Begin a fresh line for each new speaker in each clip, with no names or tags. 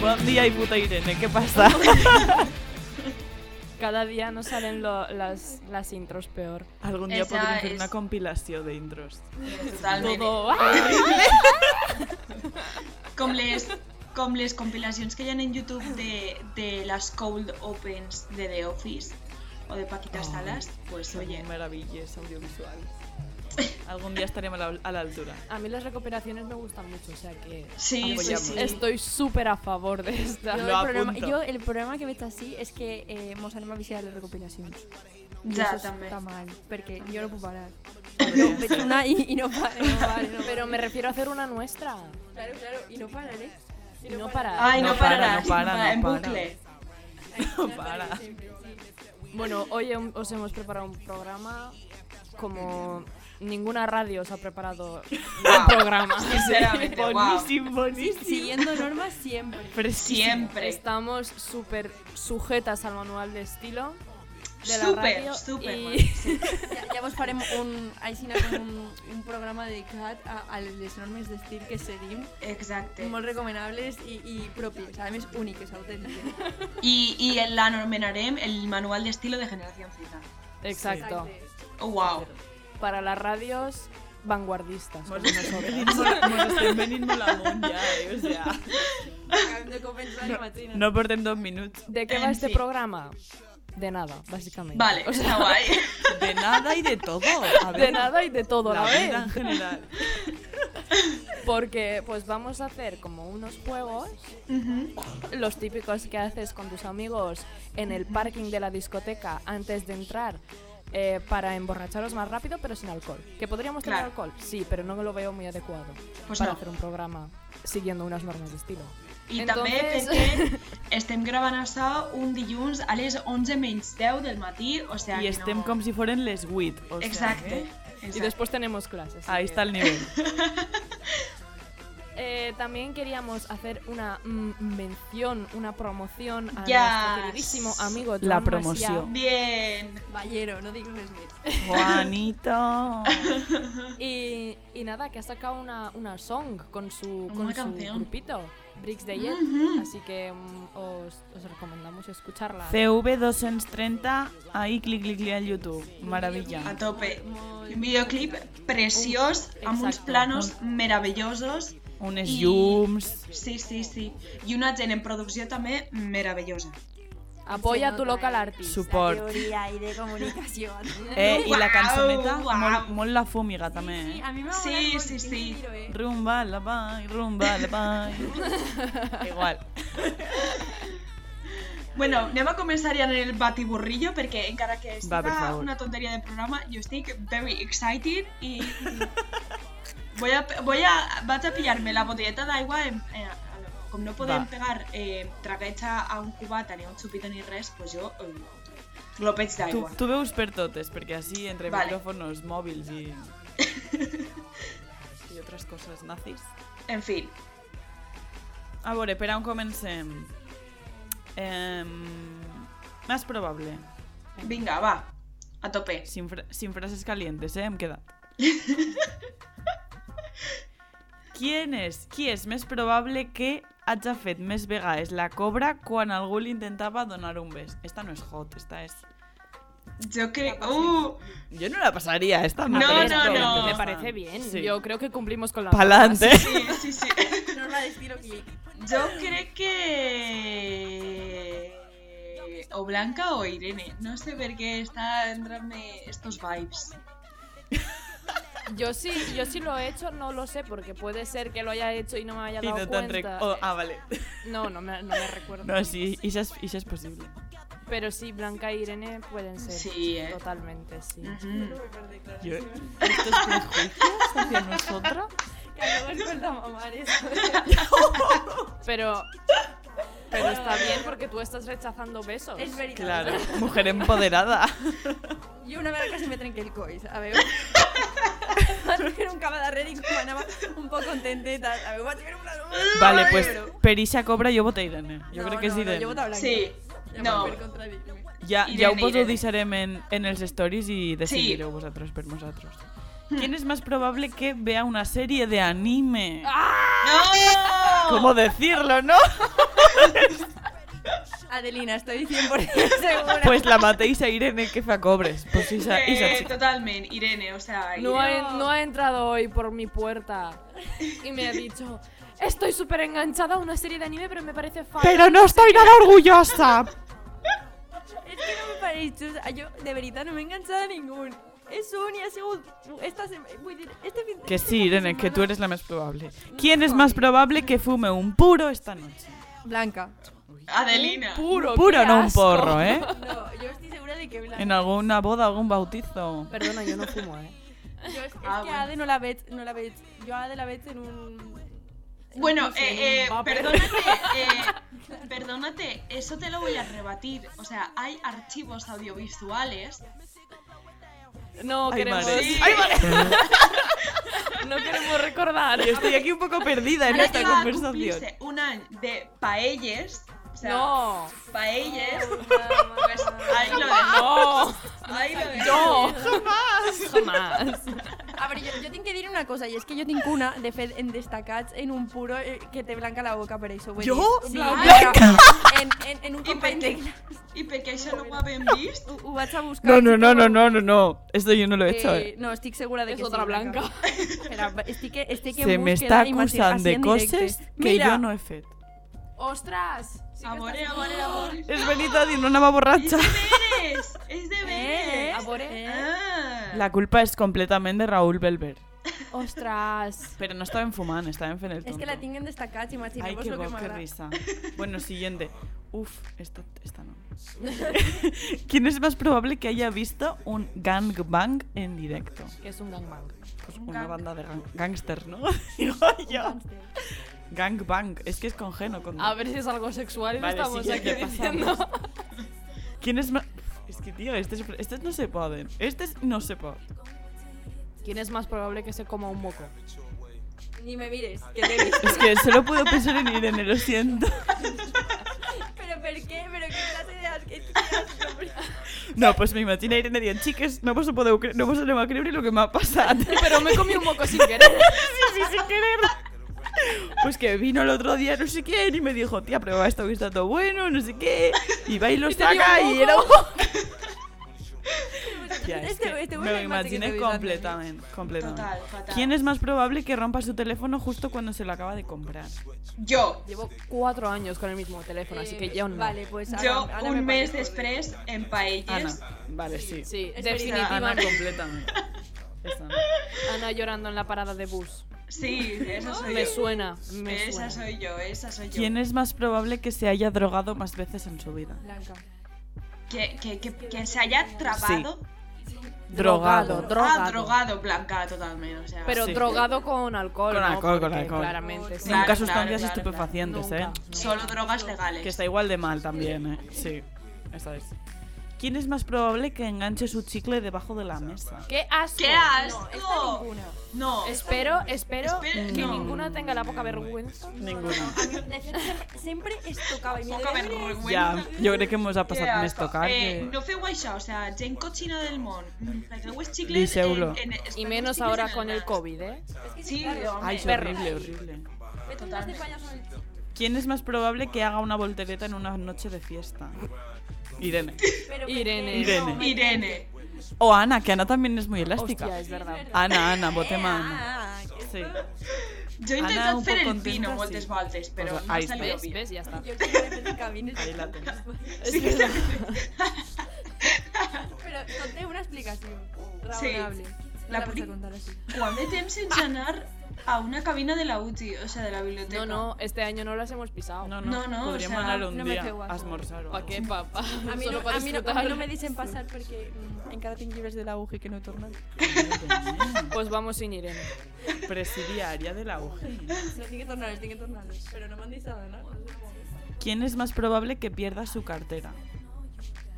Bon dia i puta Irene, què passa?
Cada día nos salen lo- las, las intros peor.
Algun dia
Esa
podríem fer
és-
una compilació d'intros.
Totalment.
Todo horrible.
Com les, com les compilacions que hi ha en YouTube de, de les cold opens de The Office o de Paquita
Oh,
Salas, pues oye,
Són meravilles audiovisuals. Algun dia estarem a la- a l'altura.
A mí las recuperaciones me gustan mucho, o sea que
sí, sí,
Apoyamos.
sí.
estoy súper a favor de esta.
Yo
Lo
el, problema,
apunto.
jo, el problema que veig així és que eh, mos anem a viciar les recopilacions. I
Ja,
això
també.
està mal, perquè jo no puc parar.
Podria
Veig
ser.
una i, i no paro, no paro. No
Pero me refiero a hacer una nuestra.
Claro, claro, i no ¿eh? pararé.
Y no parar.
Ai, no,
No para,
pararàs,
no para, no
en
para.
bucle.
No para.
Bueno, hoy hem- os hemos preparado un programa como ninguna radio os ha preparado un programa.
Sinceramente, wow.
Boníssim, boníssim.
Siguiendo normas siempre.
Fresquíssim.
Siempre.
Estamos súper sujetas al manual de estilo. de la
Súper,
radio
súper.
y-
Ja, llavors farem un, així, com un, un programa dedicat a, a les normes d'estil que seguim,
Exacte.
molt recomanables i, i pròpies, a més úniques, autèntiques.
I, i l'anomenarem el manual de estilo de Generación Z.
Exacto.
Oh, wow.
Para las radios vanguardistas.
Mos
como
estem
nosotras.
venint molt- mos estem venint molt amunt ja, eh? O sea,
Acabem de començar no, imagina't.
no portem dos minuts
¿De qué
En
va este
fin.
programa? De nada, básicamente.
Vale,
O sea,
está guay.
de nada y de todo. A ver,
de nada y de todo,
la
la vez.
vida en general.
Porque pues vamos a hacer como unos juegos,
Ujú.
los típicos que haces con tus amigos en el parking de la discoteca antes de entrar. eh, para emborracharos más rápido pero sin alcohol. ¿Que podríamos tener
Claro.
alcohol? Sí, pero no me lo veo muy adecuado
Pues
para
no.
hacer un programa siguiendo unas normas de estilo.
I
Entonces-
també perquè estem gravant això un dilluns a les 11 menys 10 del matí, o sea
Y
que
estem
no...
com si fueran les WIT. O sea,
Exacte.
eh?
exacte.
Y después tenemos clases. así
Ahí
que-
está el nivel.
Eh, también queríamos hacer una mm, mención, una promoción a
Yes.
nuestro queridísimo amigo Joan
La
Macià.
promoción.
Bien.
Ballero, no dic res més.
Juanito.
Y, y nada, que ha sacado una, una song con su,
Una
con su
canción.
grupito, Bricks de Jet.
Mhm.
Así que mm, os, os recomendamos escucharla.
CV230, ahí clic, clic, clic al YouTube. Maravilla.
A tope.
Molt-
Un videoclip preciós, amb uns
Exacte.
planos meravellosos.
Unes
I-
llums.
Sí, sí, sí. I una gent en producció també meravellosa.
Apoya a tu
Se nota,
local
eh.
artist.
Suport.
La teoria i de comunicació.
Eh, I la
Uau,
cançoneta,
uau.
molt, molt la fúmiga també. eh?
Sí, a mi m'ha
Sí,
agradat molt,
sí,
tinc
sí.
un tiro, eh?
Rumba la pai, rumba la pai. Igual.
Bueno, anem a començar ja en el batiburrillo perquè encara que
Va, per
siga
favor.
una tonteria de programa, jo estic very excited i... voy a, voy a, vaig a pillar-me la botelleta d'aigua en, en, en, com no podem
Va.
pegar eh, traguets a, a un cubat ni a un xupito ni res, pues jo eh, glopeig
Tu,
d'aigua.
tu veus per totes, perquè així entre
Vale.
micrófonos, mòbils i... i altres coses nazis.
En fi,
A veure, per on comencem? Eh, més probable.
vinga, va, a tope.
Sin, fra- sin frases calientes, eh, hem quedat. ¿Quién és, qui és més probable que haja fet més vegades la cobra quan algú li intentava donar un bes? Esta no és hot, esta és...
Jo crec... Uh,
Jo no la passaria, esta
No,
m'atreveixo
no,
a dir
no.
que
Me
esta-
parece bien.
Sí.
Yo creo que cumplimos con la
Pa'lante.
sí, uh, sí, sí.
Norma d'estilo clic.
Yo creo que... O Blanca o Irene. No sé por qué está entrándome estos vibes.
Yo sí, yo sí lo he hecho, no lo sé, porque puede ser que lo haya hecho y no me haya
I
dado
no te'n rec...
cuenta.
Oh, ah, vale.
No, no me, no me recuerdo.
No, sí, això és, això és possible.
Pero sí, Blanca e Irene pueden ser.
Sí, eh.
Totalmente, sí.
Ujú.
Jo... Estos prejuicios hacia nosotros?
Que no es falta mamar eso.
Pero. Pero está bien porque tú estás rechazando besos.
Es veritat.
Claro, mujer empoderada.
Jo una vegada quasi me trenqué el coll, a veure. Vaig fer un cava darrere i com anava un poc contenteta. A veure, vaig fer un plat...
Vale, pues per ixa cobra jo voto Irene. Jo
no,
crec que és
no,
Irene.
No, jo vota blanca.
Sí,
Ja
no.
Per contradir-me.
Ja,
Irene,
ja ho poso,
Irene.
deixarem en, en els stories i decidireu vosaltres per nosaltres. ¿Quién es más probable que vea una serie de anime?
¡Ah!
¡No!
¿Cómo decirlo, no?
Adelina, estoy 100% segura.
Pues la matéis a Irene que fa cobres. Pues Isa,
Eh,
Isa, sí.
totalmente, Irene, o sea,
No
Irene.
ha, no ha entrado hoy por mi puerta y me ha dicho, estoy súper enganchada a una serie de anime, pero me parece falso.
no estoy nada orgullosa.
Es que no me paréis chus- Ah, Yo, de verdad, no me he enganchado a ningún. Es un y ha sigut... Esta sema- vull dir, este fin-
Que
esta
sí, Irene, que tú
setmana-
eres la más probable. ¿Quién es más probable que fume un puro esta noche?
Blanca.
Adelina.
Puro,
Puro,
qué
no un
asco.
porro, ¿eh?
No, yo estoy segura de que Blanca.
En alguna boda, algún bautizo.
Perdona, yo no fumo, ¿eh?
Jo és, és
Ah,
que
bueno.
Ade no la veig, no la veig. Jo a Ade la veig en un...
Bueno,
no sé,
eh, eh,
en un vapor.
perdónate, eh, perdónate, eso te lo voy a rebatir. O sea, hay archivos audiovisuales.
No
Ay,
queremos,
madre.
Sí.
no queremos recordar.
Yo estoy aquí un poco perdida en
Ahora
esta
que va a
conversación.
cumplirse un año de paelles, o sea,
No,
paelles,
Pues,
ahí lo dejo,
no,
ahí lo
no,
dejo.
jamás.
a veure, jo, jo tinc que dir una cosa, i és que jo tinc una, de fet, en destacats, en un puro eh, que té blanca la boca per això.
Jo?
Sí,
Blanca?
En, en, en un
I per
company
què,
de...
i per què això no ho havent vist?
Ho, ho vaig a buscar.
No, no, no, no, no, no, no. Esto yo no lo he hecho.
Eh,
eh.
no, estic segura de
Es
que sí,
otra blanca.
Espera, estic, estic en
Se me
búsqueda
está
i m'estic-
acusando
així
de
en
cosas
directe.
que
Mira,
yo no he hecho.
¡Ostras! Sí que
Amore,
estás-
amore, amore.
Es Benito Adin, una va
Es
borracha.
de veres, es de
Eh,
veres.
Amore.
Ah.
La culpa es completamente de Raúl Belver.
¡Ostras!
Pero no estaba en Fumán, estaba en Fenel.
És que la tinc en destacats,
Ay,
imagineu-vos
qué,
lo que
bo- qué
m'agrada.
risa. Bueno, siguiente. Uf, esta, esta no. ¿Quién es más probable que haya visto un gangbang en directo?
Que es un gangbang.
Pues
Un
una
gang-
banda de gang gangsters, ¿no? Digo yo. Gangbang. Es que es con G, no con D.
A ver si es algo sexual y lo
Vale,
estamos aquí
siguiente,
diciendo.
¿Quién es más...? Es que, tío, estos estos no se pueden. Estos no se pueden.
¿Quién es más probable que se coma un moco?
Ni me mires, que t'he vist.
Es que solo puedo pensar en Irene, lo siento.
¿Pero por qué? ¿Pero qué clase de asquetas?
No, pues me imagino a Irene dient, xiques, no vos ho podeu creure, no vos aneu a creure el que m'ha passat.
Pero me comí un moco sin querer.
sí, sí, sin querer. Pues que vino el otro día, no sé quién, y me dijo, tía, prueba esto que está todo bueno, no sé qué. Y va y lo
Y tenía
saca
un
y
moco.
era un... Tía, es
Este,
que
este
me lo imaginé completamente, completamente.
Total, fatal.
¿Quién es más probable que rompa su teléfono justo cuando se lo acaba de comprar?
Yo.
Llevo cuatro años con el mismo teléfono, así que yo no.
Vale, pues ahora,
Yo
ahora me
un mes
parece-
después en paelles.
Ana, vale, sí.
Sí,
Es
Ana,
definitivamente.
completamente. Esa no.
Ana llorando en la parada de bus.
Sí, esa soy
Me
yo.
suena, me
Esa
suena.
soy yo, esa soy yo.
¿Quién es más probable que se haya drogado más veces en su vida?
Blanca.
Que, que, que, que se haya trabado.
Drogado,
Ah, Drogado.
drogado.
Ah, drogado, blanca totalmente. O sea,
Pero
Sí.
drogado con alcohol.
Con
¿no?
alcohol, con
Porque
alcohol.
Claramente, sí.
Claro,
Nunca
claro,
sustancias
claro, claro.
estupefacientes,
Nunca.
¿eh?
solo drogas legales.
Que está igual de mal también, ¿eh? Sí, esa es. ¿Quién es más probable que enganche su chicle debajo de la mesa?
¡Qué asco!
¡Qué
No,
asco!
esta ninguna.
No.
Espero, espero
Espera,
que
no.
ninguna tenga la poca vergüenza.
Ninguno.
A mí, de fet, sempre- sempre es tocava. i mira,
Poca
mira, mira.
vergüenza.
Ya, yo creo que hemos ha
Qué
pasado más
asco.
tocar.
Eh,
que-
No fue guay o sea, Jen cochino del mon. Mm, Fregues chicles.
Diseulo.
en- en-
Y
fregues
menos
chicles
ahora
en
con el
nada.
COVID, ¿eh?
Es que
Sí,
sí, claro.
hombre.
Ay, es
perro.
horrible, horrible.
Vete un más de payaso en el-
¿Quién es más probable que haga una voltereta en una noche de fiesta? Irene.
Pero
Irene.
que-
Irene.
no,
Irene.
O Ana, que Ana también es muy elástica.
Hostia, es verdad.
Ana, Ana, botema Ana.
Ah, esto-
Sí.
Yo he
Ana,
intentado
un
hacer
poco
el pino
contenta,
moltes
sí.
voltes, pero
O sea,
no ha
ahí
salido
¿Ves?
bien.
¿Ves? Ya está.
Yo quiero que te camines.
Ahí la tenés.
Pero conté una explicación razonable. No
La
la vas
poli-
a contar así.
Quan de temps sense anar a una cabina de la UTI, o sea, de la biblioteca.
No, no, este año no las hemos pisado.
No, no,
No, no, o
podríamos
sea,
hablar un
no me
día,
feo guapo.
almorzar o
¿Para qué,
algo.
papá?
A mí,
Solo
no,
para
a, mí no, a
disfrutar.
mí no me dicen pasar porque mm, encara tinc llibres de la UGI que no he tornat.
Pues vamos sin Irene.
Presidiaria de la UGI.
No tinc que tornar, tinc que tornar. Però no m'han dit nada, no?
¿Quién es más probable que pierda su cartera?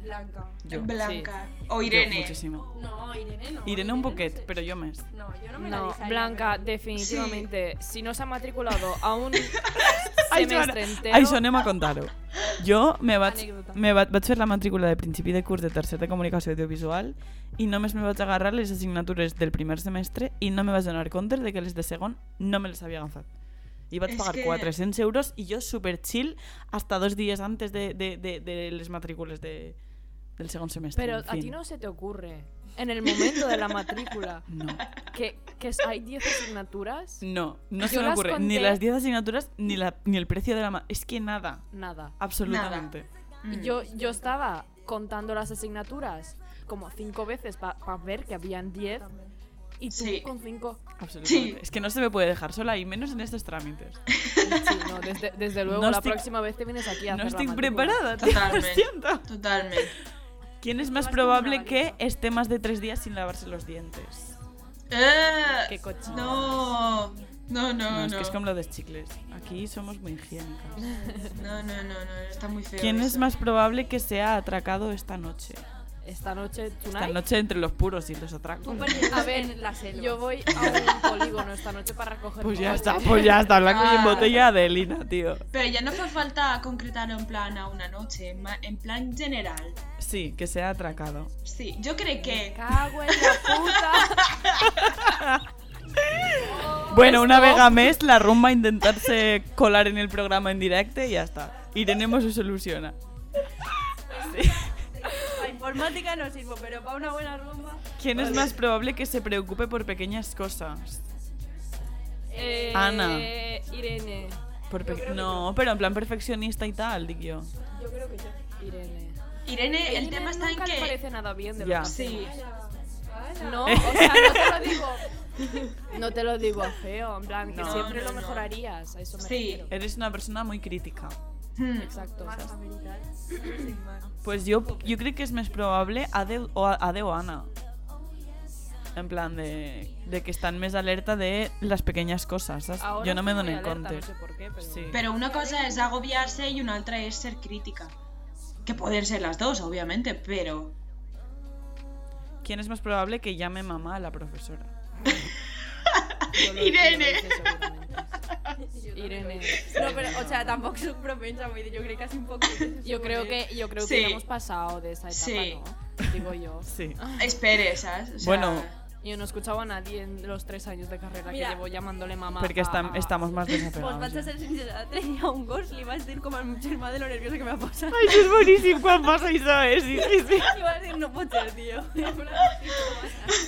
Blanca.
Yo.
Blanca.
Yo,
O Irene.
muchísimo.
No, Irene no.
Irene un
poquet,
poquet, pero yo más.
No, yo no me la
No,
dejaría,
Blanca,
pero-
definitivamente, si no se ha matriculado a un
Ai, Joana,
semestre entero,
Això anem a contar-ho. Jo me vaig,
Anècdota.
me va, vaig fer la matrícula de principi de curs de tercer de comunicació audiovisual i només me vaig agarrar les assignatures del primer semestre i no me vaig donar compte de que les de segon no me les havia agafat. Iba a
Es
pagar
que-
400 euros y yo súper chill hasta dos días antes de, de, de, de les matrícules de, del segundo semestre.
Pero
en
a ti
fin.
no se te ocurre, en el momento de la matrícula,
No,
que, que hay 10 asignaturas,
no, no
Yo
se me
las
ocurre ni
conté-
las 10 asignaturas ni, la, ni el precio de la... ma- Es que nada,
nada.
absolutamente.
Mm.
Y yo, yo estaba contando las asignaturas como cinco veces para ver que habían 10 y tú
Sí.
con cinco...
Absolutamente. Es que no se me puede dejar sola y menos en estos trámites.
Sí, no, desde, desde luego,
No
la
estoy-
próxima vez te vienes aquí a
No
hacer la
estoy
matrícula.
preparada, tío, lo
Totalmente.
siento.
Totalmente.
¿Quién es más
Vas como una
probable que
baliza.
esté más de tres días sin lavarse los dientes?
Eh,
Qué cochino.
no. No,
No,
no, no.
es que es como lo de chicles. Aquí somos muy higiénicas.
No, no, no, no, está muy feo.
¿Quién es
eso.
más probable que sea atracado esta noche?
Esta noche,
Esta
tonight,
noche entre los puros y los atracos.
Tú perdías
A ver,
en la selva.
yo voy a un polígono esta noche para recoger
Pues ya
coches.
está, pues ya está, blanco y en
Ah.
botella de Elina, tío.
Pero ya no hace falta concretarlo en plan a una noche, en ma- en plan general.
Sí, que sea atracado.
Sí, yo creo que.
Ah,
Cago en la puta.
Bueno, una vez a mes la rumba a intentarse colar en el programa en directo y ya está. Y tenemos se soluciona.
La informática no sirvo, pero para una buena rumba.
¿Quién es más probable que se preocupe por pequeñas cosas?
Eh,
Ana.
Irene.
Por pe- no, pero en plan perfeccionista y tal, digo yo.
Yo creo que yo.
Irene.
Irene, el
Irene
tema está en
nunca le
que.
parece nada bien de lo
Ya.
que
Sí.
No, o sea, no te lo digo. No te lo digo feo, en plan, que
No,
siempre
no,
lo
no.
mejorarías. A eso me
Sí.
refiero.
Eres una persona muy crítica.
Hmm,
Exacto. o sea,
Más americanas. Sin más.
Pues yo, yo creo que es más probable Ade o, Ade o Ana. En plan de, de que están más alerta de las pequeñas cosas. ¿sabes?
ahora
Yo no me
estoy
doy
muy
en
alerta,
cuenta.
No sé por qué, pero.
Sí.
Pero una cosa es agobiarse y una otra es ser crítica. Que pueden ser las dos, obviamente, pero.
¿Quién es más probable que llame mamá a la profesora?
yo lo- yo lo
Irene.
hice seguramente. Irene.
No, pero, o sea, tampoco es un propensa, muy de- yo creo que casi un poco.
Yo creo que, yo creo
Sí.
que ya hemos pasado de esa etapa,
Sí.
¿no? Digo yo.
Sí.
Espere, ¿sabes? O sea,
Bueno,
Yo no escuchaba a nadie en los tres años de carrera
Mira.
que llevo llamándole mamá.
Porque
a-
estam-
a-
estamos más
Pues
desapegados.
vas a
ya.
ser sincera, traía un Gosling y vas a decir como mucho más de lo nervioso que me ha pasado.
Ay, es buenísimo cuando pasa y sabes. Sí, sí, sí.
Y vas a decir, no puedo ser, tío.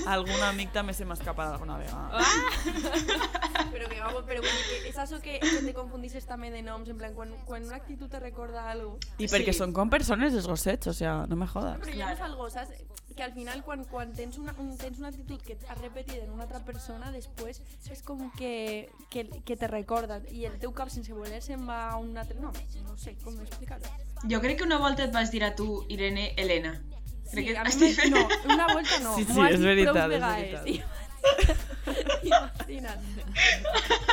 Alguna amicta me se me ha escapado alguna vez.
Ah, Pero que vamos, pero bueno, que és això que, que te confundises també de noms, en plan, quan, quan una actitud te recorda algo.
Y porque
Sí.
son con personas desgosets, o sea, no me jodas.
Però ja no és
Claro.
algo, saps? Que al final quan, quan tens, una, un, tens una actitud que has repetit en una altra persona, després és com que, que, que te recorda i el teu cap sense voler se'n va a un altre nom. No sé com explicar-ho.
yo creo que una vuelta te vas a decir a tú, Irene, Elena. Creo que
a
es
mi me-
diferente.
no, una vuelta no.
Sí, sí,
m'ho has
és
dit
veritat,
prous
és
vegades,
veritat.
i- Imagina't.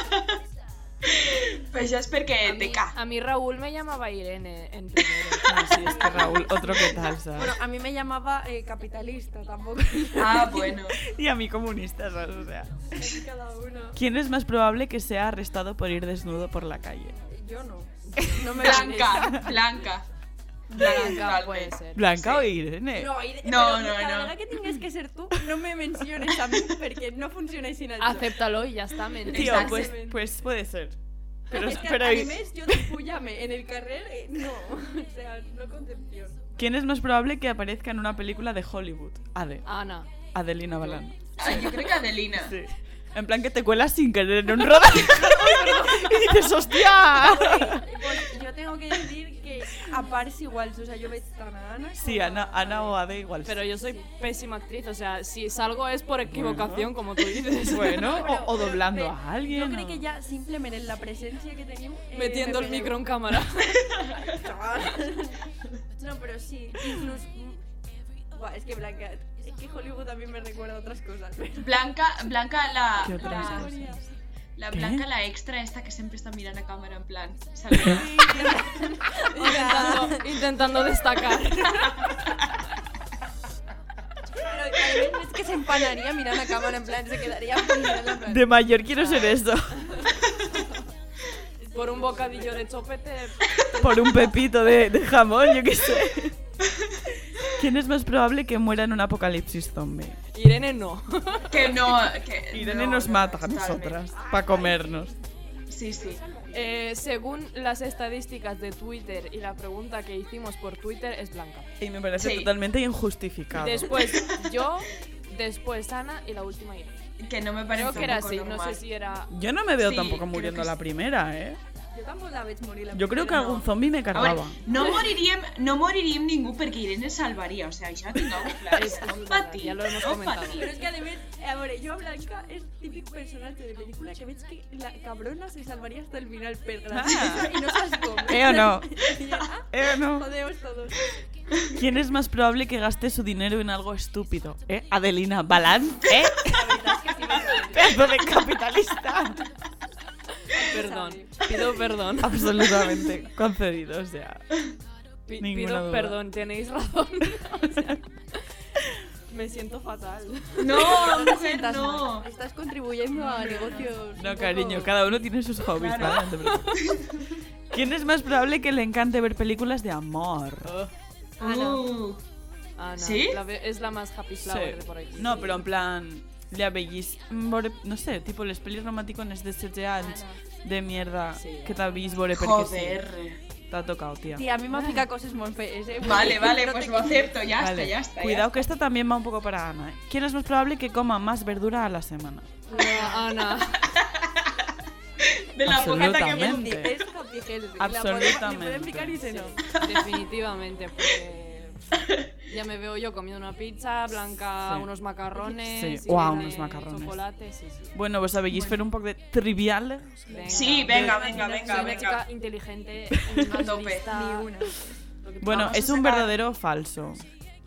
Ah.
Pues ya es porque
A mí,
te ca.
a mí Raúl me llamaba Irene en primero.
Ah, sí, es que Raúl, otro que tal, ¿sabes?
Bueno, a mí me llamaba eh, capitalista, tampoco.
Ah, bueno.
y a mí comunista, ¿sabes? O sea.
Cada uno.
¿Quién es más probable que sea arrestado por ir desnudo por la calle?
Yo no. No me
Blanca, Blanca.
Blanca puede ser.
¿Blanca o Irene?
No, i-
No,
però
no,
cada
no.
vegada que tingues que ser tu, no me menciones a mí porque no funciona sin el
Acéptalo y ya está, ¿me entiendes?
Tío, pues,
exactamente.
pues puede ser. Pero,
es que
pero-
a mí me es yo de púllame en el carrer, eh, no. O sea, no concepción.
¿quién es más probable que aparezca en una película de Hollywood? Ade.
Ana.
Adelina Balán.
Ay, yo creo que Adelina.
Sí. En plan que te cuelas sin querer en un rodaje. y dices, ¡hostia!
Pues yo tengo que decir que a pares igual, o sea, yo veig tan a Ana.
Sí, Ana, Ana o Ade igual.
Pero yo soy pésima actriz, o sea, si salgo es por equivocación, como tú dices.
Bueno,
Però-
o, o
però
doblando
bé,
a alguien.
Jo crec
o-
que ja simplement en la presència que tenim... eh,
Metiendo
me
el
peleu.
micro en cámara.
No, però sí, inclús... Buah, es que Blanca, es que Hollywood también me recuerda a otras cosas. Pero...
Blanca, Blanca la,
¿Qué otras
la,
cosas?
la
¿Qué?
Blanca la extra esta que siempre está mirando a cámara en plan. saluda.
intentando, intentando destacar.
Pero es que se empanaría mirando a cámara, en plan, se quedaría mirando en plan.
De mayor quiero ser eso.
Por un bocadillo de chopete.
por un pepito de, de jamón, yo qué sé. ¿Quién es más probable que muera en un apocalipsis zombie?
Irene no.
Que no. Que,
Irene
no,
nos
no,
mata a
totalmente.
nosotras para comernos.
Sí, sí.
Eh, según las estadísticas de Twitter y la pregunta que hicimos por Twitter es blanca.
Y me parece
Sí.
totalmente injustificado.
Después yo, después Ana y la última Irene.
Que no me parece
Creo que era
tampoco
así, no
normal.
sé si era...
Yo no me veo
Sí,
tampoco
creo
muriendo
que
la
sí.
primera, ¿eh?
Jo tampoc la veig morir. La
Jo crec que
primera,
algun zombi me
A veure,
cargava.
no moriríem, no moriríem ningú perquè Irene salvaria, o sea, això tinc-ho clar.
Es-
No
es verdad,
patir,
ya lo hemos
no
comentado.
patir.
Pero es que además, eh, a ver, yo Blanca es típico personaje de película que ves que la cabrona se salvaría hasta el final, pero
Ah.
gracias. Y no sabes cómo.
Eh o no.
Y ya, ah,
Eh, no.
jodemos todos.
¿Quién es más probable que gaste su dinero en algo estúpido? ¿Eh? Adelina Balán, ¿eh? Pedazo de capitalista.
Perdón, pido perdón.
Ah, Absolutamente concedido, o sea.
Pi-
Ninguna
pido
duda.
perdón, tenéis razón. O sea, me siento fatal.
No,
te
mujer,
sientas
no.
mal. Estás contribuyendo a negocios.
No,
un
cariño,
poco-
cada uno tiene sus hobbies,
Claro.
¿vale? No te preocupes. ¿Quién es más probable que le encante ver películas de amor?
Oh, Ana.
Uh,
Ana,
¿Sí?
la ve- es la más happy flower de por aquí.
No, pero en plan. Ya veis, no sé, tipo les pelis romàticones de 16 anys de mierda
Sí.
que t'avís veure perquè
joder.
sí. T'ha tocat, tia.
Tía, a mí me pica cosas muy feas, eh.
Vale, vale,
No
pues
te-
lo acepto, ya está,
Vale,
ya está. ya
Cuidado que esta también va un poco para Ana. ¿eh? ¿Quién es más probable que coma más verdura a la semana?
No, Ana.
está. De la bocata que me...
Absolutamente.
Es happy healthy. La podemos- le
Absolutamente.
pueden picar y se no.
Definitivamente, porque ya me veo yo comiendo una pizza, Blanca
Sí.
unos macarrones.
Sí, guau,
Irene
unos macarrones.
Chocolate, sí, sí.
Bueno, pues vos sabéis hacer un poco de trivial.
Venga.
Sí, venga, venga, venga,
Soy una
venga.
chica inteligente,
A tope.
lista,
Ni una.
lo que tú
Bueno,
Vamos a
es un
sacar-
verdadero falso.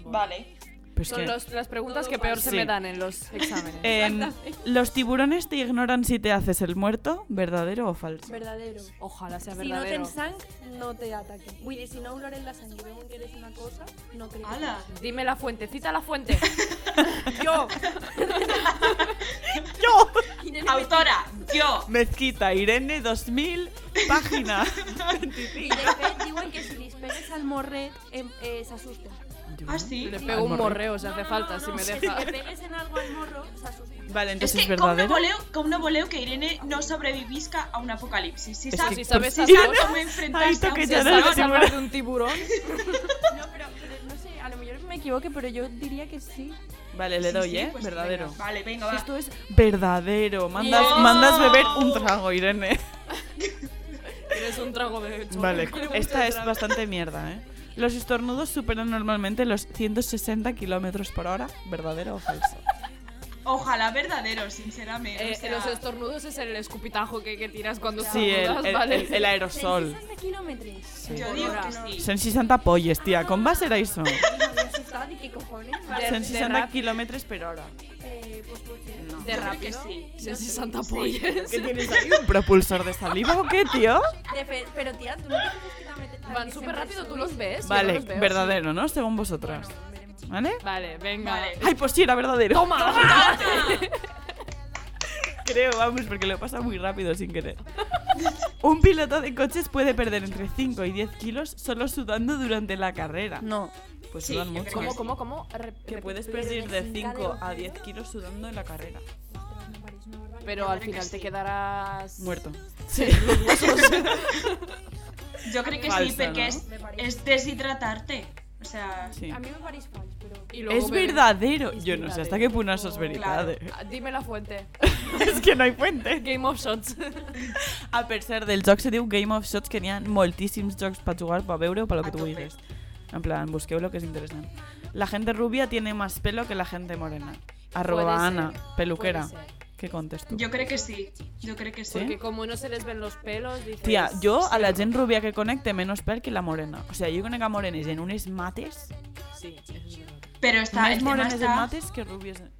Vale.
Pues
Son
que,
los- las preguntas que peor se
Sí.
me dan en los exámenes.
em, los tiburones te ignoran si te haces el muerto, verdadero o falso.
Verdadero.
Ojalá sea
Si no
verdadero.
tens sang, no te ataque. Vull dir, si no olor en la sang i veuen que eres una cosa, no crec que
Ala.
Dime la fuente, cita la fuente. Yo.
Yo,
Autora, yo.
mezquita Irene 2000, página.
I de fet, diuen que si li pegues al morret, eh, eh, s'asusten.
Ah, sí.
Le
Sí.
pego
Al
un
morro.
morreo si hace falta, si me deja.
Si le pegues en algo al morro, s'asusten.
Vale,
Es
entonces
que,
es
¿cómo no,
verdadero.
voleu, ¿cómo no voleu que Irene no sobrevivisca a un apocalipsis? Si
Es
sabes,
que- Si sabes
si
esas
sabes
cosas-
cómo
Ahí
enfrentarse a
toque
un
ya
¿Se
no
sabe
eres
tiburón.
salvar de un tiburón?
No, però, però no sé, a lo mejor me equivoque, pero yo diría que sí.
Vale, le
Sí,
doy,
sí,
¿eh?
pues
verdadero.
venga. Vale, venga, va.
Esto es verdadero. Mandas,
Yes.
mandas beber un trago, Irene.
Tienes un trago de chorro.
Vale, esta es bastante mierda, ¿eh? Los estornudos superan normalmente los 160 kilómetros por hora. ¿Verdadero o falso?
Ojalá verdadero, sinceramente.
Eh,
o sea,
los estornudos es el escupitajo que, que tiras cuando
Sí, el,
estornudas,
el-
¿vale?
el- el aerosol.
60 quilòmetres. Sí.
yo digo que sí.
Son 60 polles, tía. ¿Con va a ser eso?
M'havia assustat i què cojones? Vale,
Son
de
60
rap.
kilómetros por hora.
eh, pues, pues, sí.
No.
De
Yo creo
rápido.
que sí.
Sí, sí, Santa Polles.
¿Qué tienes ahí? ¿Un propulsor de saliva o qué, tío?
De fet, però tia, tu no penses que també...
Van súper rápido, tú los ves. Yo no
Vale,
los veo.
verdadero, ¿no? Según vosotras. ¿Vale?
Vale, venga.
Vale.
Ay, pues sí, era verdadero.
¡Toma!
Creo, vamos, porque lo pasa muy rápido sin querer. Un piloto de coches puede perder entre 5 y 10 kilos solo sudando durante la carrera.
No.
Pues
Sí,
sudan
yo
mucho.
creo
¿Cómo, cómo, cómo? Re-
Que
repite.
puedes
pero
perder de
sin
5
calor.
a 10 kilos sudando en la carrera.
Pero al
Yo creo que
final te
sí.
quedarás...
Muerto.
Sí, los huesos.
Yo creo que sí,
Falsa,
porque
¿no?
es, es deshidratarte. O sea,
Sí.
A mi me pareix fals, però...
Y luego
Es
veré.
verdadero.
Es
Yo no sé
verdadero.
hasta qué punto eso es verdad.
Claro.
eh.
Ah, Dime la fuente.
Es que no hay fuente.
Game of Shots.
A pesar del joc se diu Game of Shots que n'hi ha moltíssims jocs per jugar, per veure o per lo que
A
tú
tope.
vulguis. En plan, busqueu lo que es interesante. La gente rubia tiene más pelo que la gente morena.
Puede
Arroba
ser,
Ana, peluquera.
Puede ser.
¿Qué contesto?
yo creo que sí. Yo creo que sí.
Porque como no se les ven los pelos, dices...
Tía, yo a la gente rubia que conecte menos pel que la morena. O sea, yo conecto a morenes en unes mates.
Sí, eso es verdad.
Pero está,
más
el tema
morenes en
está,
mates que rubies en-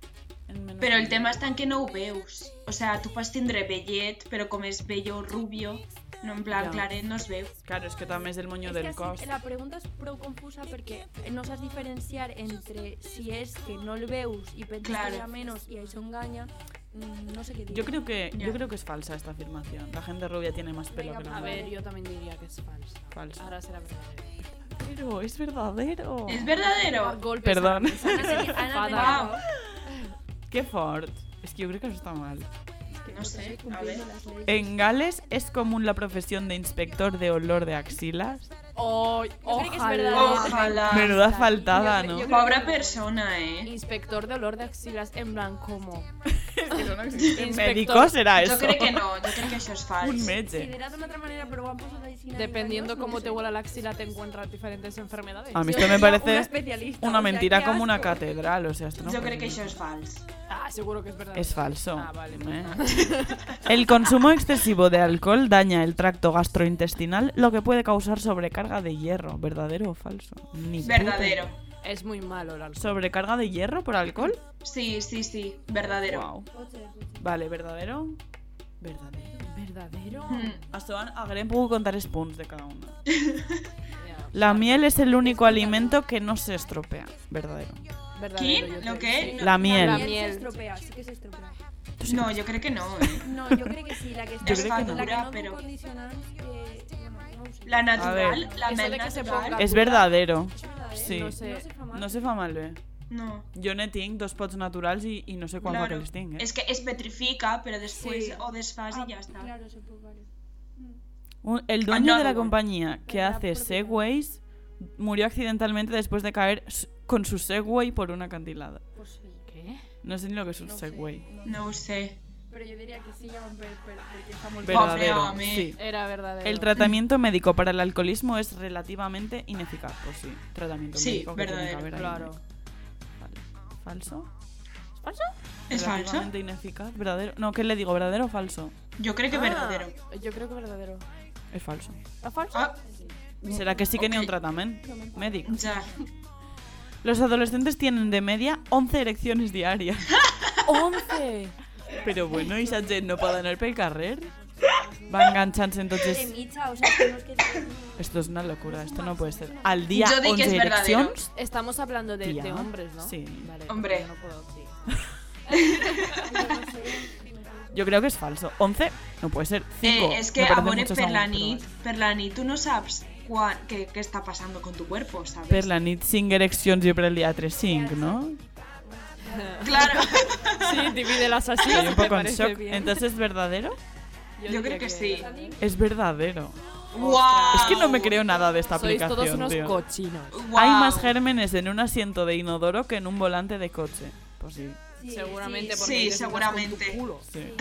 en menos.
però el tema està en que no ho veus. O sea, tu pots tindre vellet, però com és vello rubio, no en plan
Ja.
claret no es veu.
Claro, es que también es el moño
És
del
que
cos.
sí, la pregunta és prou confusa perquè no saps diferenciar entre si és que no el veus i penses
Claro.
que era menys i això enganya, mm, no sé què dir.
Yo creo que yo
Ya.
creo que es falsa esta afirmación. La gente rubia tiene más pelo
Venga,
que la
A
Vale.
ver,
morena.
yo también diría que es falsa.
Falsa.
Ahora será verdadero.
Pero es verdadero.
És verdadero?
Golpes
Perdón.
Ana, sí, Ana,
Enfadada.
tenia raó.
Qué fort. Es que yo creo que eso está mal.
No, No sé, a ver.
cumpliendo las leyes.
En Gales es común la profesión de inspector de olor de axilas.
creo que es
ojalá.
verdad.
Ojalá.
Menuda faltada,
Yo
¿no?
creo-
Pobre persona, eh.
Inspector de olor de axilas en blanco. como
¿Un
inspector.
médico será Ah, eso?
Jo crec que no, jo crec que això és
Un
fals.
Sí,
meche.
dirá de una otra manera, pero vamos a decir
Dependiendo cómo te huela la axila, te encuentras diferentes enfermedades.
A mí esto me parece
especialista, o
una
sea,
mentira
qué
como una
asco.
catedral, o sea, esto no
Jo
puede
crec que
ser.
això és fals.
Ah, seguro que es verdad.
Es falso.
Ah, vale, pues
Eh. El consumo excesivo de alcohol daña el tracto gastrointestinal, lo que puede causar sobrecarga de hierro. ¿Verdadero o falso? Ni puta
Verdadero.
Es muy malo el alcohol.
¿Sobrecarga de hierro por alcohol?
Sí, sí, sí. Verdadero.
Guau. Vale, ¿verdadero? Verdadero.
¿Verdadero?
Mm.
Hasta van a Grem puedo contar spoons de cada uno. La miel es el único alimento que no se estropea. Verdadero.
Verdadero,
¿Quién?
yo
¿Lo
creo
qué?
sí.
La
La
miel.
miel
miel.
se estropea, sí que se estropea.
No, jo crec que no, eh.
No, yo creo que sí, la que está
creo que no.
la que no
Pero-
condicionan, eh, bueno, no lo sé.
La natural,
ver.
la
Eso
mel
de que se
natural...
ponga-
Es verdadero.
Es verdad, ¿eh?
Sí.
No sé. fa mal.
No se fa malbé.
No.
Jo n'he tinc dos pots naturals i, i no sé quan claro.
Claro.
que els tinc, eh?
És que es petrifica, però després
Sí.
o desfas
Ah,
i ja està.
Claro, se puede, vale. Mm.
Un- el dueño de la
Another one.
compañía que
Verdad,
hace
por Dios.
segways murió accidentalmente después de caer s- con su segway por un acantilado.
Pues sí.
¿Qué?
No sé ni lo que es un
no sé,
segway.
no.
No ho sé.
Pero yo diría que sí, ya van a ver, pero- porque está muy
Pero-
Verdadero,
hombre.
sí.
Era verdadero.
El tratamiento médico para el alcoholismo es relativamente ineficaz, pues sí. Tratamiento
Sí,
médico que tiene que
verdadero,
haber ahí,
Claro.
¿no? Vale. ¿Falso?
És falsa?
Relativamente ineficaz, verdadero. No, ¿qué le digo? ¿Verdadero o falso?
Jo crec que
Ah.
verdadero.
Ah, Yo creo que verdadero.
Es falso.
¿Es falso?
Ah,
¿Será que sí que ni
Ok.
un tratamiento médico?
ja.
Los adolescentes tienen de media 11 erecciones diarias.
¡11!
Pero bueno, i la gent no poden anar pel carrer? Va enganxant-se,
De
entonces...
micha, o sea, tenemos que
Esto es una locura, esto no puede ser. Al día
Yo dic que
11
es verdadero.
ereccions...
Estamos hablando de,
Tía.
de hombres, ¿no?
Sí.
Vale,
Hombre.
yo No puedo, sí.
Yo creo que es falso. 11 no puede ser. 5
Eh, és que, a veure, per la nit, per la nit tu no saps quan, què, què està passant con tu cuerpo, ¿sabes?
Per la nit 5 ereccions i per el dia 3, 5, no?
Claro,
Sí, divide las así.
Estoy un poco en shock. Entonces, ¿es verdadero?
yo creo que, sí.
Es verdadero.
¡Wow!
Es que no me creo nada de esta
Sois
aplicación,
todos unos
tío.
cochinos.
Guau.
Hay más gérmenes en un asiento de inodoro que en un volante de coche. Pues sí.
Seguramente
Sí,
porque ellos están con tu
seguramente.
culo.
sí.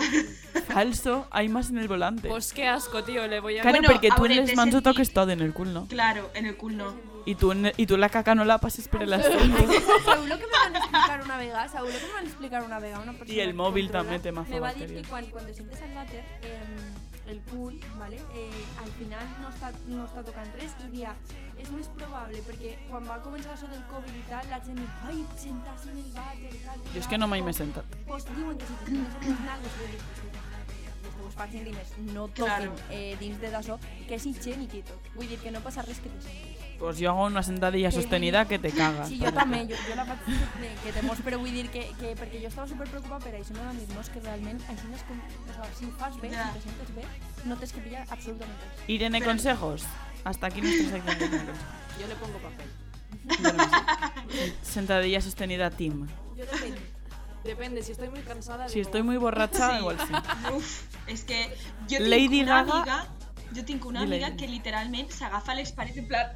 Falso, hay más en el volante.
Pues qué asco, tío. Le voy a.
Claro,
Bueno,
porque tú en
ahora
les
te
mans ho
sentí-
toques todo en el cul, ¿no?
Claro, en el cul no.
Y tú, en- y tú la caca no la pases por el asiento.
Seguro que me van a explicar una vega, seguro que me van a explicar una vega, una persona
el
que
móvil
controla,
también te mazo
Me va a decir
baterías.
que cuan- cuando, sientes al váter, em, el pool, ¿vale? Eh, al final no està, no està tocant res i dia és més probable perquè quan va començar això del Covid i tal, la gent diu, ai, sentar-se en el vàter, tal,
Yo es que no me he sentado.
Pues diuen que pues, si te sentes en les nalgues, vull dir, els teus pacients diners no toquen
Claro.
eh, dins de d'això, que és higiènic i tot. Vull dir que no passa res que te sentis.
Pues yo hago una sentadilla sostenida que te cagas.
Sí, jo també, jo, jo la vaig eh, que te mos, però vull dir que, que perquè jo estava super preocupada per això, no a mi, no, és que realment així no és com, o sigui, si ho fas bé,
Ja.
si te sentes bé, no t'has que pillar absolutament res.
Irene, consejos. Hasta aquí nuestra sección de consejos.
Yo le pongo papel.
Sentadilla sostenida team.
Yo depende. Depende, si estoy muy cansada.
Si
digo,
estoy muy borracha,
Sí.
igual sí.
Uf, és que jo tinc
Lady
una
Gaga-
amiga, jo tinc una
Dile.
amiga que literalment s'agafa les parets en plan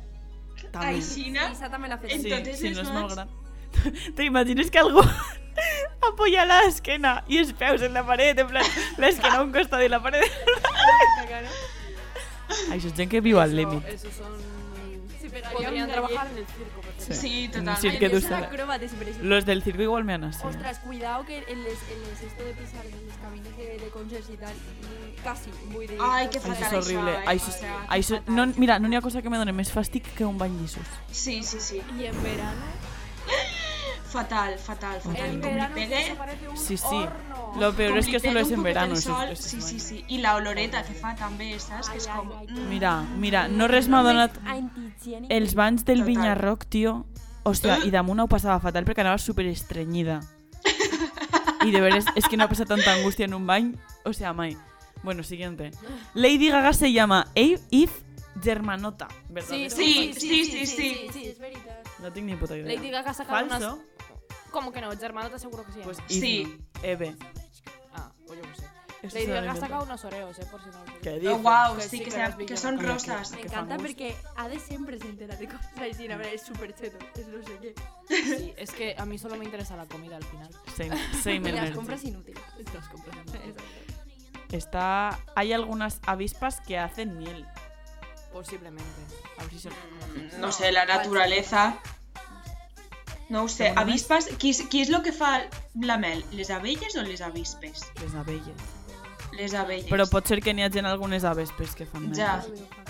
També.
aixina.
Lisa també l'ha fet.
Sí,
Entonces
si
les
no es
mans-
molt gran. ¿Te imaginas que algo apoya la esquena y es peus en la pared? En plan, la esquena a un costado y la pared. Ay, soy gente que vivo al límite.
Esos son. Sí, pero
Podrían
podrían trabajar en el circo.
Sí,
Sí,
totalment.
que tú
Ells són
sabes.
acròbates, per això.
Los del circo igual me han así. ¿eh?
Ostras, cuidado que en les, en les esto de pisar en los caminos de, de concerts i tal, mm, casi, vull dir...
Ai, que
Ay,
fatal
eso es horrible.
això, eh?
Ay,
O
eso,
sea,
ay, eso- no, mira, no hay una cosa que me done más fastic que un baño lisos.
Sí, sí, sí.
Y en verano.
Fatal, fatal, fatal.
En
I com li
verano
pegue,
eso parece un
Sí, sí.
horno.
Lo peor
com
es
li
que solo
pegue un
es en
poquet
verano.
el
eso-
sol,
eso es
sí, sí,
mal.
sí. I la oloreta que fa també, saps? Que és
Ai,
com...
ai, ai.
mm.
Mira, mira, no res m'ha donat...
Antihigiènic.
Els banys del
Total.
Vinyarroc, tio... Hòstia, i damunt ho passava fatal perquè anava superestrenyida. I de veres, és que no ha passat tanta angústia en un bany. O sea, mai. Bueno, siguiente. Lady Gaga se llama Eve Eve Germanota, ¿verdad?
Sí, sí, sí, sí.
Sí, és veritat.
No tinc ni puta idea.
Lady Gaga ha sacado
Falso?
unas. Como que no, Germano, te aseguro que sí. ¿eh?
Pues Eve.
Sí.
no. Eve.
Ah, pues yo no sé.
Eso
Lady
se lo
Gaga ha
invento.
sacado unos oreos, eh, por si no lo
¿Qué
sabéis.
dices?
Oh, wow,
que
sí,
sí,
que,
que
sean-
las vi
que
yo,
son
claro,
rosas.
claro.
Me
Qué
encanta
famous.
porque Ade siempre se entera de cosas así, la verdad, es súper cheto, es no sé qué.
Sí, es que a mí solo me interesa la comida al final.
Same, same
Y las
energy.
compras inútiles. Las compras inútiles.
Está... Hay algunas avispas que hacen miel.
Posiblemente.
A ver si se-
No sé, la naturaleza. No ho sé,
Alguna més?
avispes... Qui és, qui és lo que fa la mel? Les abelles o les avispes?
Les abelles.
Les abelles.
Però pot ser que n'hi hagi algunes avespes que fan miel.
Ja.
No lo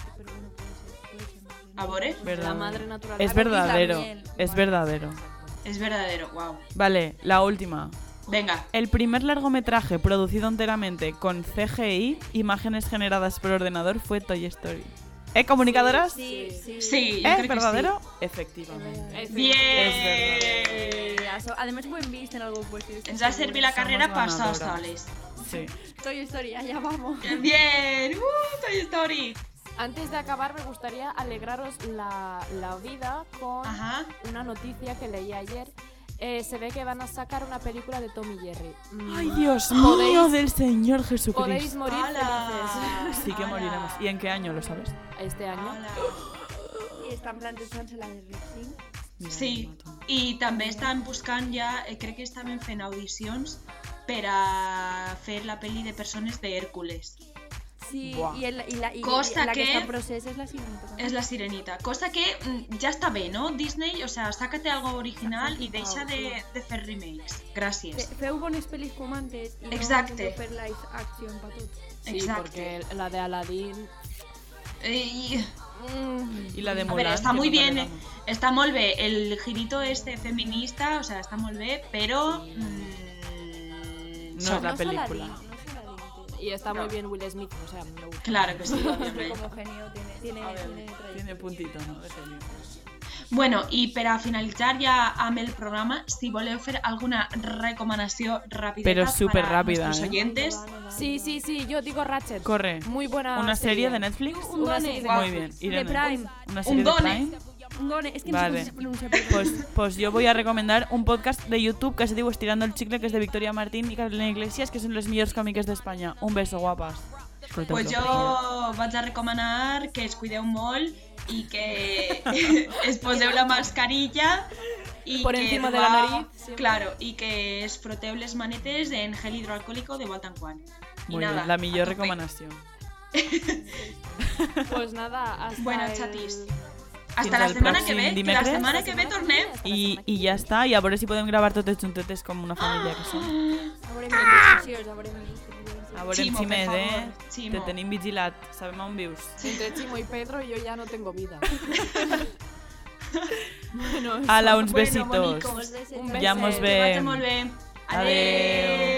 Ah, veo fácil, pero
Pues
Verdad.
A veure,
bueno, puede ser, puede ser.
La madre natural. Ah,
Es
ver-
verdadero,
miel.
es verdadero.
és verdadero, wow.
Vale, la última.
Venga,
El primer largometraje producido enteramente con CGI, imágenes generadas por ordenador, fue Toy Story. ¿Eh, comunicadoras?
Sí, sí.
sí, jo
¿Eh,
crec que
verdadero?
Es
Efectivamente.
verdad.
sí. Bien!
Eh, aso- Además, buen vista en algo pues.
Ens va servir la carrera per
Somos
sols
ganadoras.
soles.
Sí.
Toy Story, allá vamos.
Bien! Uh, Toy Story!
Antes de acabar, me gustaría alegraros la, la vida con
Ajá.
una noticia que leí ayer. Eh, se ve que van a sacar una película de Tommy Jerry. Mm,
Ay, Dios
Podéis-
mío del Señor
Podéis
Jesucristo.
morir
Hola.
felices.
Sí que
Ala.
moriremos. ¿Y en qué año lo sabes?
este año.
Hola.
Y están planteándose la de Rexing.
Mira,
Sí.
me mato.
I també estan buscant ja, eh, crec que estaven fent audicions per a fer la pel·li de persones d'Hèrcules.
Sí,
Buah.
y, el, y la, y
Cosa
la que,
que-
está en proceso es la siguiente.
És la sirenita. Cosa que mm, ja està bé, no? Disney, o sea, sácate algo original i deixa de, de fer remakes. Gràcies.
Fe- Feu bones pelis como antes y
Exacte.
no fer live action pa tots.
Sí,
Exacto. Eh,
porque la de Aladdin.
I,
mm,
Y la de
a
Mulan.
veure, està
que
molt
no
bé,
vale
eh?
la-
està molt bé el girito este feminista, o sea, està molt bé, però... Mm,
No
so-
es la
No se la
película.
di, no se la di.
Y está muy
No.
bien Will Smith, o sea, me gusta.
Claro que sí,
Este
òbviament.
como genio tiene, tiene, tiene trayectoria.
Tiene puntito, ¿no? De genio.
Bueno, i per a finalitzar ja amb el programa, si voleu fer alguna recomanació ràpida
Però superràpida,
per a nuestros
eh?
oyentes,
No va, no va,
Sí,
no va.
sí, sí, yo digo Ratchet.
Corre.
Muy buena.
¿Una serie de Netflix?
Un
Una
done.
serie de
Muy
Netflix.
bien.
De
Irene.
Prime.
¿Una serie de
done.
Prime?
Gone, es que
Vale.
no sé cómo se pronuncia. pero-
Pues, pues yo voy a recomendar un podcast de YouTube que se digo Estirando el Chicle, que es de Victoria Martín y Carolina Iglesias, que son los millors cómiques de España. Un beso, guapas. Escolteu-lo.
pues jo vaig a recomanar que es cuideu molt i que es poseu la mascarilla i
Por
que
encima de
va-
la nariz, siempre.
Claro, i que es froteu les manetes en gel hidroalcohòlico de volta en quan. I
Muy
nada,
bien, la millor
a tope.
recomanación.
Pues nada, hasta
Bueno,
el-
chatis.
Fins
Hasta la
al
setmana que
pròxim
ve, que la
dimecres.
setmana que ve tornem.
Hasta la
Y,
semana que
y ya está, y a ver si podemos grabar totes juntetes como una familia que son.
Haurem vist discussions, haurem vist discussions.
A ver,
Chimo,
encima
per
de...
favor,
Te
Chimo.
tenim vigilat, sabem on vius.
viene. Entre Chimo y Pedro yo ya no tengo vida. bueno,
Ala, uns
Bueno,
besitos.
bonicos.
Us desitgem-
Un beso.
Ja mos
Que vagi
veiem.
molt bé.
Adeu.